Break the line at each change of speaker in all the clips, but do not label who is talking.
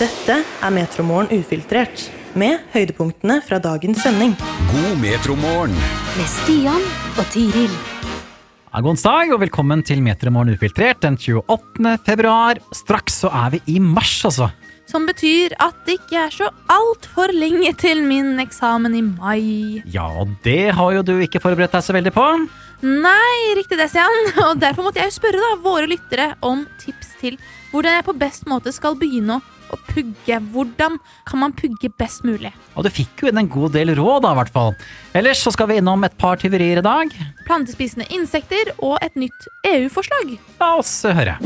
Dette er Metromorgen ufiltrert, med høydepunktene fra dagens sending.
God metromorgen.
med Stian og Tiril.
Ja, Onsdag, og velkommen til Metermorgen ufiltrert den 28. februar. Straks så er vi i mars, altså.
Som betyr at det ikke er så altfor lenge til min eksamen i mai.
Ja, og det har jo du ikke forberedt deg så veldig på.
Nei, riktig det, Stian. Og derfor måtte jeg jo spørre da våre lyttere om tips til hvordan jeg på best måte skal begynne å, å pugge. Hvordan kan man pugge best mulig?
Og du fikk jo inn en god del råd, da, i hvert fall. Ellers så skal vi innom et par tyverier i dag.
Plantespisende insekter og et nytt EU-forslag.
La oss eh, høre.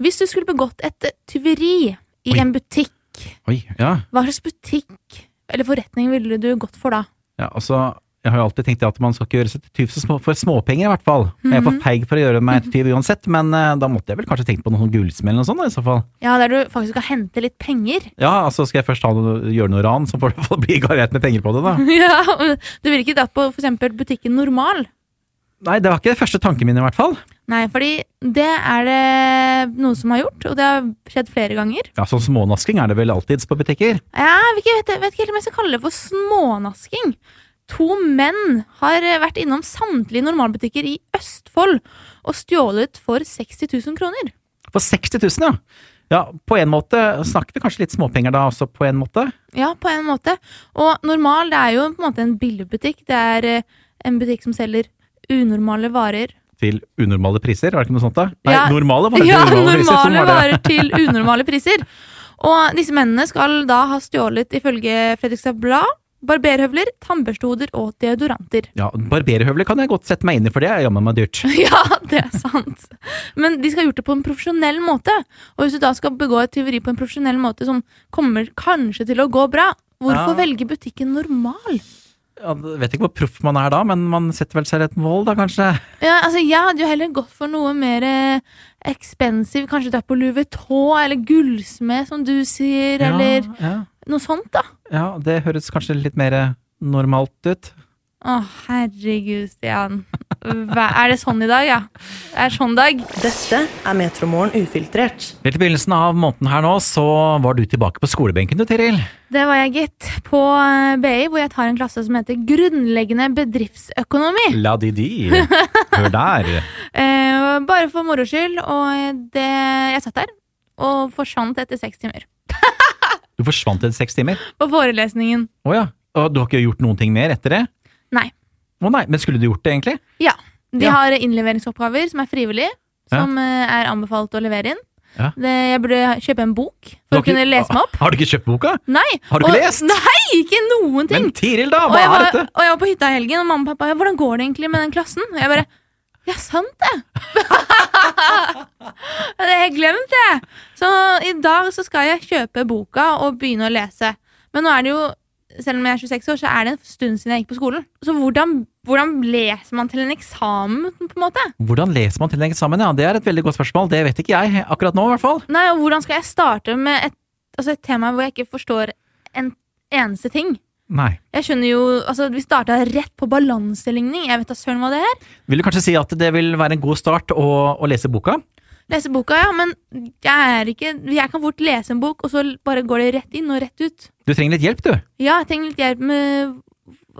Hvis du skulle begått et tyveri i
Oi.
en butikk,
Oi, ja.
hva slags butikk eller forretning ville du gått for da?
ja altså, jeg har jo alltid tenkt at man skal ikke gjøre seg til tyv så små- for småpenger, i hvert fall. Jeg er for feig for å gjøre meg til tyv uansett, men eh, da måtte jeg vel kanskje tenkt på noe sånn gullsmell eller noe sånt, da, i så fall.
Ja, der du faktisk skal hente litt penger.
Ja, altså skal jeg først ha noe, gjøre noe ran, så får det bli garert med penger på det, da.
Ja, og Du ville ikke dratt på for eksempel butikken Normal.
Nei, det var ikke det første tanken min, i hvert fall.
Nei, fordi det er det noen som har gjort, og det har skjedd flere ganger.
Ja, sånn smånasking er det vel alltids på butikker.
Jeg vet ikke, vet, vet ikke helt om jeg skal kalle det for smånasking. To menn har vært innom samtlige normalbutikker i Østfold og stjålet for 60 000 kroner.
For 60 000, ja! Ja, på en måte snakket vi kanskje litt småpenger da også, på en måte.
Ja, på en måte. Og normal, det er jo på en måte en billigbutikk. Det er eh, en butikk som selger unormale varer.
Til unormale priser, var det ikke noe sånt da? Nei,
Ja.
normale varer
ja,
til unormale,
normale
priser. Sånn var det.
varer til unormale priser. Og disse mennene skal da ha stjålet, ifølge Fredrikstad Blad, barberhøvler, tannbørstehoder og deodoranter.
Ja, Barberhøvler kan jeg godt sette meg inn i, for det er jammen meg dyrt.
Ja, det er sant. Men de skal ha gjort det på en profesjonell måte. Og hvis du da skal begå et tyveri på en profesjonell måte som kommer kanskje til å gå bra, hvorfor
Ja.
velge butikken normal?
Ja, vet ikke hvor proff man er da, men man setter vel seg et mål da, kanskje?
Ja, altså, jeg hadde jo heller gått for noe mer eh, expensive, kanskje dratt på Louis Vuitton eller gullsmed, som du sier, eller
ja,
noe sånt, da.
ja, ja, det høres kanskje litt mer eh, normalt ut.
Å, herregud, Stian. Hva, er det sånn i dag, ja? Det er sånn dag.
Dette er Metromorgen ufiltrert,
Helt i begynnelsen av måneden her nå, så var du tilbake på skolebenken du, Tiril.
Det var jeg, gitt. På eh, BI, hvor jeg tar en klasse som heter Grunnleggende bedriftsøkonomi.
La di di. Hør der.
Eh, bare for moro skyld. Og eh, det, jeg satt der og forsvant etter seks timer.
Du forsvant etter seks timer.
På forelesningen.
Å ja. Og du har ikke gjort noen ting mer etter det?
Nei.
Å nei, Men skulle du gjort det, egentlig?
Ja. De
Ja.
har innleveringsoppgaver som er frivillige,
Ja.
som eh, er anbefalt å levere inn.
Ja.
Det, jeg burde kjøpe en bok
Du
for
har
å kunne
ikke-
lese meg opp.
Har du ikke kjøpt boka?
Nei!
Har du ikke
og,
lest?
Nei, ikke noen ting!
Men Tiril, da!
Og
Hva
jeg,
er
var,
dette?
og jeg var på hytta i helgen, og mamma og pappa ja, 'Hvordan går det egentlig med den klassen?' Og jeg bare 'Ja, sant det!' det har jeg glemt, jeg. Så i dag så skal jeg kjøpe boka og begynne å lese. Men nå er det jo, selv om jeg er 26 år, så er det en stund siden jeg gikk på skolen. Så hvordan, hvordan leser man til en eksamen, på en måte?
Hvordan leser man til en eksamen? Ja, Det er et veldig godt spørsmål. Det vet ikke jeg akkurat nå, i hvert fall.
Nei, og hvordan skal jeg starte med et, altså et tema hvor jeg ikke forstår en eneste ting?
Nei.
Jeg skjønner jo, altså Vi starta rett på balanseligning. Jeg vet da søren hva det er.
Vil du kanskje si at det vil være en god start å, å lese boka?
Lese boka, ja, men jeg er ikke Jeg kan fort lese en bok, og så bare går det rett inn og rett ut.
Du trenger litt hjelp, du.
Ja, jeg trenger litt hjelp med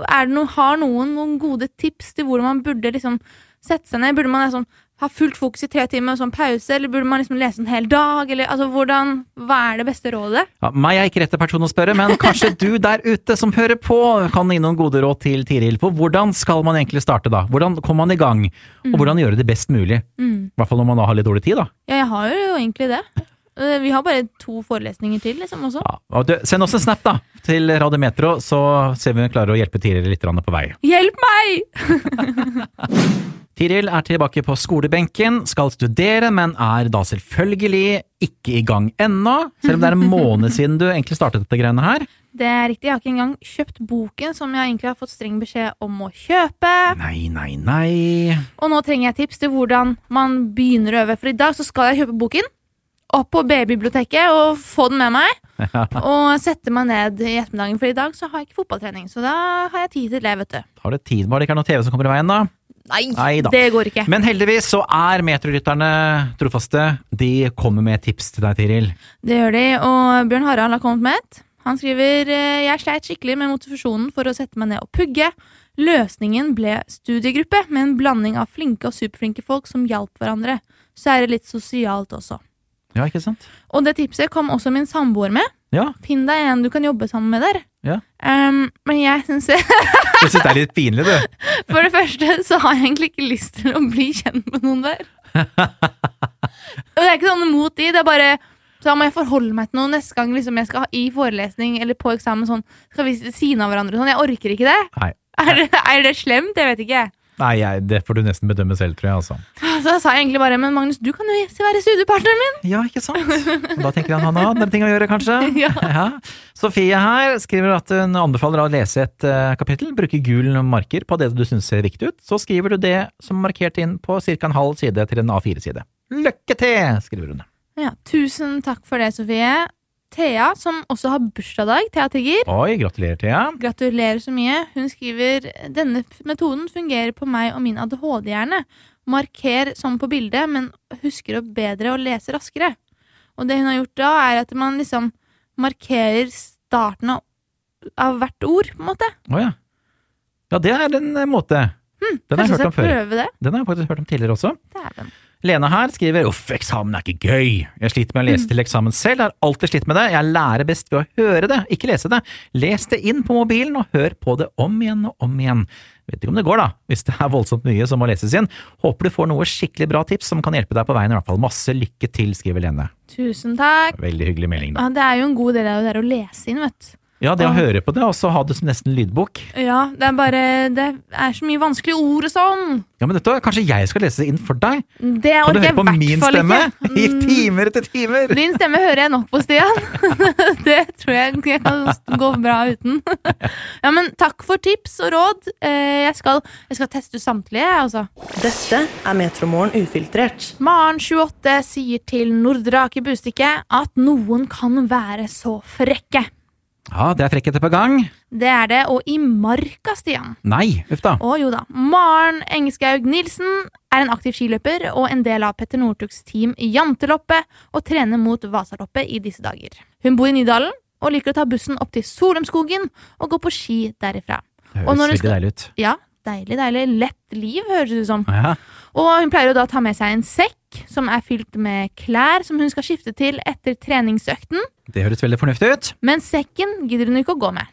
er det noe, Har noen noen gode tips til hvordan man burde liksom sette seg ned? Burde man liksom ha fullt fokus i tre timer og så en pause, eller burde man liksom lese en hel dag? Eller altså, hvordan Hva er det beste rådet?
Ja, meg er ikke rette person å spørre, men kanskje du der ute som hører på, kan gi noen gode råd til Tiril på hvordan skal man egentlig starte da? Hvordan kommer man i gang? Og hvordan gjøre det best mulig?
Mm.
I hvert fall når man da har litt dårlig tid, da.
Ja, jeg har jo egentlig det. Eh, Vi har bare to forelesninger til, liksom, også.
Ja, og du, send oss en snap da, til Radio Metro, så ser vi om vi klarer å hjelpe Tiril litt grann på vei.
Hjelp meg!
Tiril er tilbake på skolebenken, skal studere, men er da selvfølgelig ikke i gang ennå. Selv om det er en måned siden du egentlig startet dette greiene her.
Det er riktig, Jeg har ikke engang kjøpt boken som jeg egentlig har fått streng beskjed om å kjøpe.
Nei, nei, nei.
Og nå trenger jeg tips til hvordan man begynner å øve. For i dag så skal jeg kjøpe boken. Opp på B-biblioteket og få den med meg. Og sette meg ned i ettermiddagen, for i dag så har jeg ikke fotballtrening. Så da har jeg tid til det, vet du.
Har det tid bare det ikke er noe TV som kommer i veien da?
Nei,
Nei da.
det går ikke.
Men heldigvis så er metrolytterne trofaste. De kommer med tips til deg, Tiril.
Det gjør de, og Bjørn Harald har kommet med et. Han skriver eh, Jeg sleit skikkelig med motivasjonen for å sette meg ned og pugge. Løsningen ble studiegruppe med en blanding av flinke og superflinke folk som hjalp hverandre. Så er det litt sosialt også.
Ja, ikke sant?
Og det tipset kom også min samboer med.
Ja.
Finn deg en du kan jobbe sammen med der.
Ja.
Ehm, men jeg syns
Du syns det er litt pinlig, du.
For det første så har jeg egentlig ikke lyst til å bli kjent med noen der. Og det er ikke sånn mot de, det er bare så da må jeg forholde meg til noe neste gang liksom jeg skal ha i forelesning eller på eksamen. sånn, Skal vi ved siden av hverandre og sånn. Jeg orker ikke det.
Nei.
Er det, er det slemt? Jeg vet ikke.
Nei, jeg, det får du nesten bedømme selv, tror jeg. altså.
Så da sa jeg egentlig bare Men Magnus, du kan jo være studiepartneren min!
Ja, ikke sant? Og da tenker han han har andre ting å gjøre, kanskje.
Ja.
Sofie her skriver at hun anbefaler å lese et eh, kapittel. Bruke gul marker på det du syns ser riktig ut. Så skriver du det som er markert inn på ca. en halv side til en A4-side. Lykke til, skriver hun.
Ja, Tusen takk for det, Sofie. Thea, som også har bursdagsdag, Thea Tigger,
Oi, gratulerer, Thea.
Gratulerer så mye. Hun skriver denne f- metoden fungerer på meg og min ADHD-hjerne. Marker som på bildet, men husker opp bedre og leser raskere. Og det hun har gjort da, er at man liksom markerer starten av, av hvert ord, på en måte.
Å ja. Ja, det er en eh, måte. Den har jeg
Hm, Kanskje
hørt om før.
prøve det?
Den har jeg faktisk hørt om tidligere også.
Dæven.
Lene her skriver uff, eksamen er ikke gøy. Jeg sliter med å
Mm.
lese til eksamen selv, har alltid slitt med det. Jeg lærer best ved å høre det, ikke lese det. Les det inn på mobilen og hør på det om igjen og om igjen. Vet ikke om det går, da, hvis det er voldsomt mye som må leses inn. Håper du får noe skikkelig bra tips som kan hjelpe deg på veien, i hvert fall. Masse lykke til, skriver Lene.
Tusen takk.
Veldig hyggelig melding, da.
Ja, det er jo en god del av det der å lese inn, vet du.
Ja, det å høre på det, og så ha det som nesten lydbok.
Ja, det er bare Det er så mye vanskelige ord og sånn.
Ja, men dette, kanskje jeg skal lese det inn for deg?
Det
Kan du
orker jeg
høre
i
på min
hvert fall
stemme?
ikke. Mm.
I timer etter timer!
Din stemme hører jeg nok på, Stian. Det tror jeg, jeg kan gå bra uten. Ja, men takk for tips og råd. Eh, Jeg skal, jeg skal teste ut samtlige, jeg, altså.
Dette er Metromorgen ufiltrert.
Maren 28 sier til Nordre Aker Bustikke at noen kan være så frekke.
Ja, det er frekkheter på gang.
Det er det, og i marka, Stian.
Nei, uff da.
Å jo da. Maren Engeskaug Nilsen er en aktiv skiløper og en del av Petter Northugs team i Janteloppet og trener mot Vasaloppet i disse dager. Hun bor i Nydalen og liker å ta bussen opp til Solumskogen og gå på ski derifra.
Det
Og når
høres veldig
du skal-
deilig ut.
Ja, deilig, deilig. Lett liv, høres det ut som.
Ja.
Og hun pleier jo da å ta med seg en sekk som er fylt med klær som hun skal skifte til etter treningsøkten,
Det høres veldig fornuftig ut.
men sekken gidder hun ikke å gå med.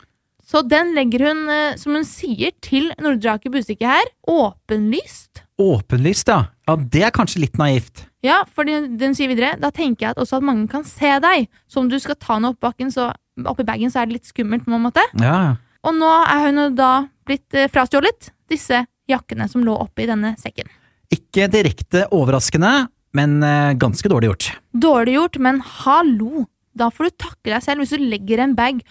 Så den legger hun, eh, som hun sier til Nordre Aker Bustikke her, åpenlyst
Åpenlyst, ja. Ja, det er kanskje litt naivt.
Ja, for den, den sier videre Da tenker jeg at også at mange kan se deg Så om du skal ta noe opp, bakken, så, opp i baggen Så er det litt skummelt på en måte
Ja,
Og nå er hun jo da blitt eh, frastjålet Disse jakkene som lå oppe i denne sekken
Ikke direkte overraskende, men eh, ganske dårlig gjort.
Dårlig gjort, men hallo Da får du takke deg selv hvis du legger en bag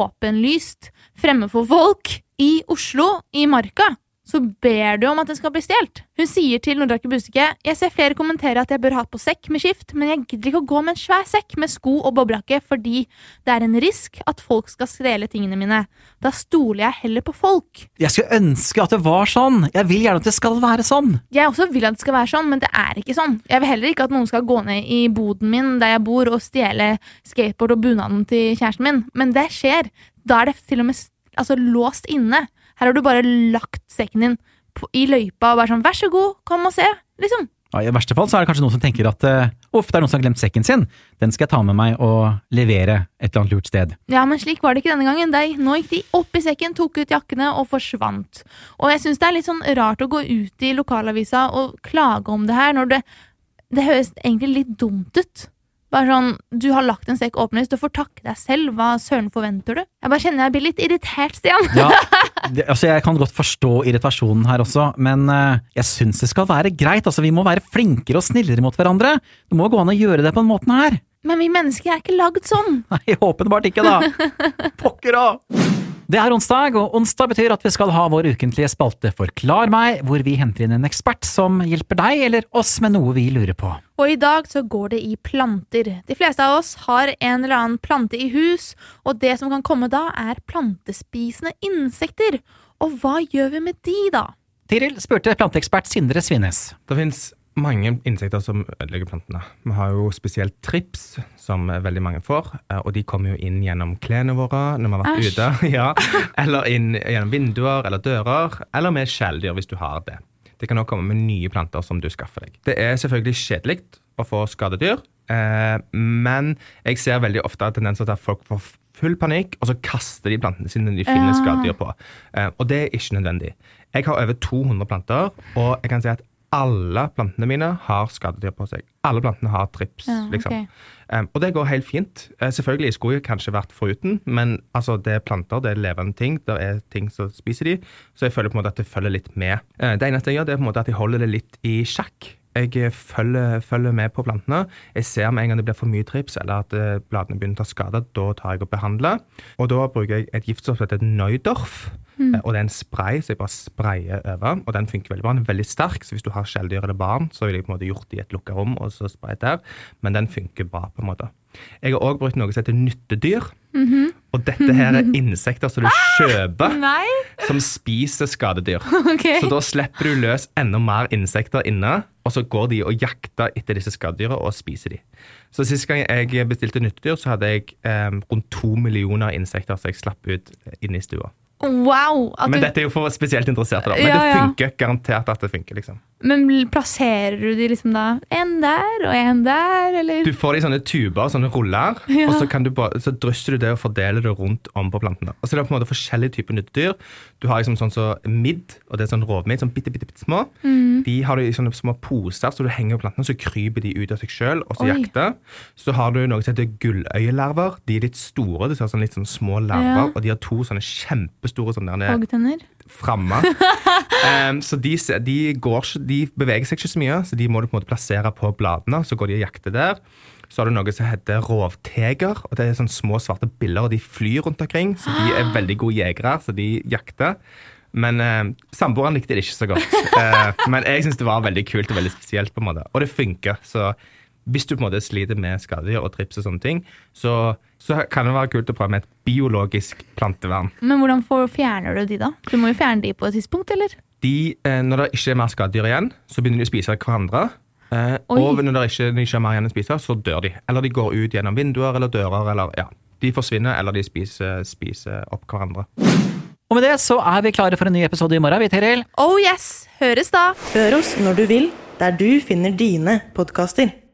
Åpenlyst Fremme for folk i Oslo I Marka så ber du om at den skal bli stjålet. Hun sier til Nordrake Bustike Jeg ser flere kommentere at jeg bør ha på sekk med skift, men jeg gidder ikke å gå med en svær sekk med sko og boblejakke fordi det er en risk at folk skal stjele tingene mine. Da stoler jeg heller på folk.
Jeg skulle ønske at det var sånn. Jeg vil gjerne at det skal være sånn.
Jeg også vil at det skal være sånn, men det er ikke sånn. Jeg vil heller ikke at noen skal gå ned i boden min der jeg bor og stjele skateboard og bunaden til kjæresten min, men det skjer. Da er det til og med s- altså, låst inne. Her har du bare lagt sekken din på, i løypa og bare sånn 'vær så god, kom og se', liksom.
Ja, I verste fall så er det kanskje noen som tenker at eh, uff, det er noen som har glemt sekken sin. Den skal jeg ta med meg og levere et eller annet lurt sted.
Ja, men slik var det ikke denne gangen. De, nå gikk de opp i sekken, tok ut jakkene og forsvant. Og jeg syns det er litt sånn rart å gå ut i lokalavisa og klage om det her, når det, det høres egentlig litt dumt ut. Bare sånn, du har lagt en sekk åpenlyst, du får takke deg selv, hva søren forventer du? Jeg bare kjenner jeg blir litt irritert, Stian.
Ja, det, altså Jeg kan godt forstå irritasjonen her også, men eh, jeg syns det skal være greit. Altså Vi må være flinkere og snillere mot hverandre. Det må gå an å gjøre det på den måten her.
Men vi mennesker er ikke lagd sånn.
Nei, åpenbart ikke, da. Pokker òg! Det er onsdag, og onsdag betyr at vi skal ha vår ukentlige spalte Forklar meg, hvor vi henter inn en ekspert som hjelper deg eller oss med noe vi lurer på.
Og i dag så går det i planter. De fleste av oss har en eller annen plante i hus, og det som kan komme da, er plantespisende insekter. Og hva gjør vi med de, da?
Tiril spurte planteekspert Sindre Svinnes.
Det finnes mange insekter som ødelegger plantene. Vi har jo spesielt trips, som veldig mange får. eh, Og de kommer jo inn gjennom klærne våre når vi har vært ute. Ja. Eller inn gjennom vinduer eller dører. Eller med skjelldyr, hvis du har det. Det kan også komme med nye planter som du skaffer deg. Det er selvfølgelig kjedelig å få skadedyr, eh, men jeg ser veldig ofte tendenser til at folk får full panikk, og så kaster de plantene sine når de finner skadedyr på. Eh, Og det er ikke nødvendig. Jeg har over 200 planter, og jeg kan si at alle plantene mine har skadedyr på seg. Alle plantene har trips,
Ja, ok.
liksom. Em, og det går helt fint. Eh, selvfølgelig skulle jeg kanskje vært foruten, men altså, det er planter, det er levende ting, det er ting som spiser de, så jeg føler på en måte at det følger litt med. Eh, det eneste jeg gjør, det er på en måte at jeg holder det litt i sjakk. Jeg eh, følger, følger med på plantene. Jeg ser med en gang det blir for mye trips, eller at eh, bladene begynner å ta skade, da tar jeg og behandler. Og da bruker jeg et giftstoff som heter Neudorf. Eh, Og det er en spray som jeg bare sprayer over, og den funker veldig bra. Den er veldig sterk, så hvis du har skjelldyr eller barn, så vil jeg på en måte gjort det i et lukka rom og så sprayet der, men den funker bra på en måte. Jeg har òg brukt noe som heter nyttedyr, og dette her er insekter som du kjøper,
Nei?
som spiser skadedyr.
Ok.
Så da slipper du løs enda mer insekter inne, og så går de og jakter etter disse skadedyra og spiser de. Så sist gang jeg bestilte nyttedyr, så hadde jeg eh, rundt to millioner insekter som jeg slapp ut eh, inne i stua.
Wow! At
Men
du,
dette er jo for spesielt interesserte, da. Men
Ja,
det
ja.
funker. Garantert at det funker, liksom.
men plasserer du de liksom da en der og en der, eller?
Du får de sånne tuber, sånne ruller,
Ja.
og så, kan du bare, så drysser du det og fordeler det rundt om på plantene. Og så er det på en måte forskjellige typer nyttedyr. Du har liksom sånn som midd, og det er sånn rovmidd, sånn bitte, bitte, bitte små.
Mm.
De har du i sånne små poser, så du henger opp plantene, så kryper de ut av seg sjøl, og så
Oi.
jakter. Så har du noe som heter gulløyelarver. De er litt store, du ser sånn litt sånn små larver,
Ja.
og de har to sånne kjempestore sånne der,
Hoggtenner?
framme. Em, Ehm, så de, se- de, går, ikke- de beveger seg ikke så mye, så de må du på en måte plassere på bladene. Så går de og jakter der. Så har du noe som heter rovteger. og Det er sånne små svarte biller, og de flyr rundt omkring. Så de er veldig gode jegere, så de jakter. Men eh, samboeren likte det ikke så godt. Eh, men jeg syns det var veldig kult og veldig spesielt. på en måte. Og det funker. så... Hvis du på en måte sliter med skadedyr og trips, og sånne ting, så, så kan det være kult å prøve med et biologisk plantevern.
Men hvordan får, fjerner du de, da? Du må jo fjerne de på et tidspunkt, eller?
de, eh, når det ikke er mer skadedyr igjen, så begynner de å spise hverandre. Eh,
Oi.
og når det ikke, når de ikke er mer igjen å spise, så dør de. Eller de går ut gjennom vinduer eller dører. Eller, ja. De forsvinner, eller de spiser, spiser opp hverandre.
Og med det så er vi klare for en ny episode i morgen, vi, Tiril.
Oh yes! Høres da!
Hør oss når du vil, der du finner dine podkaster.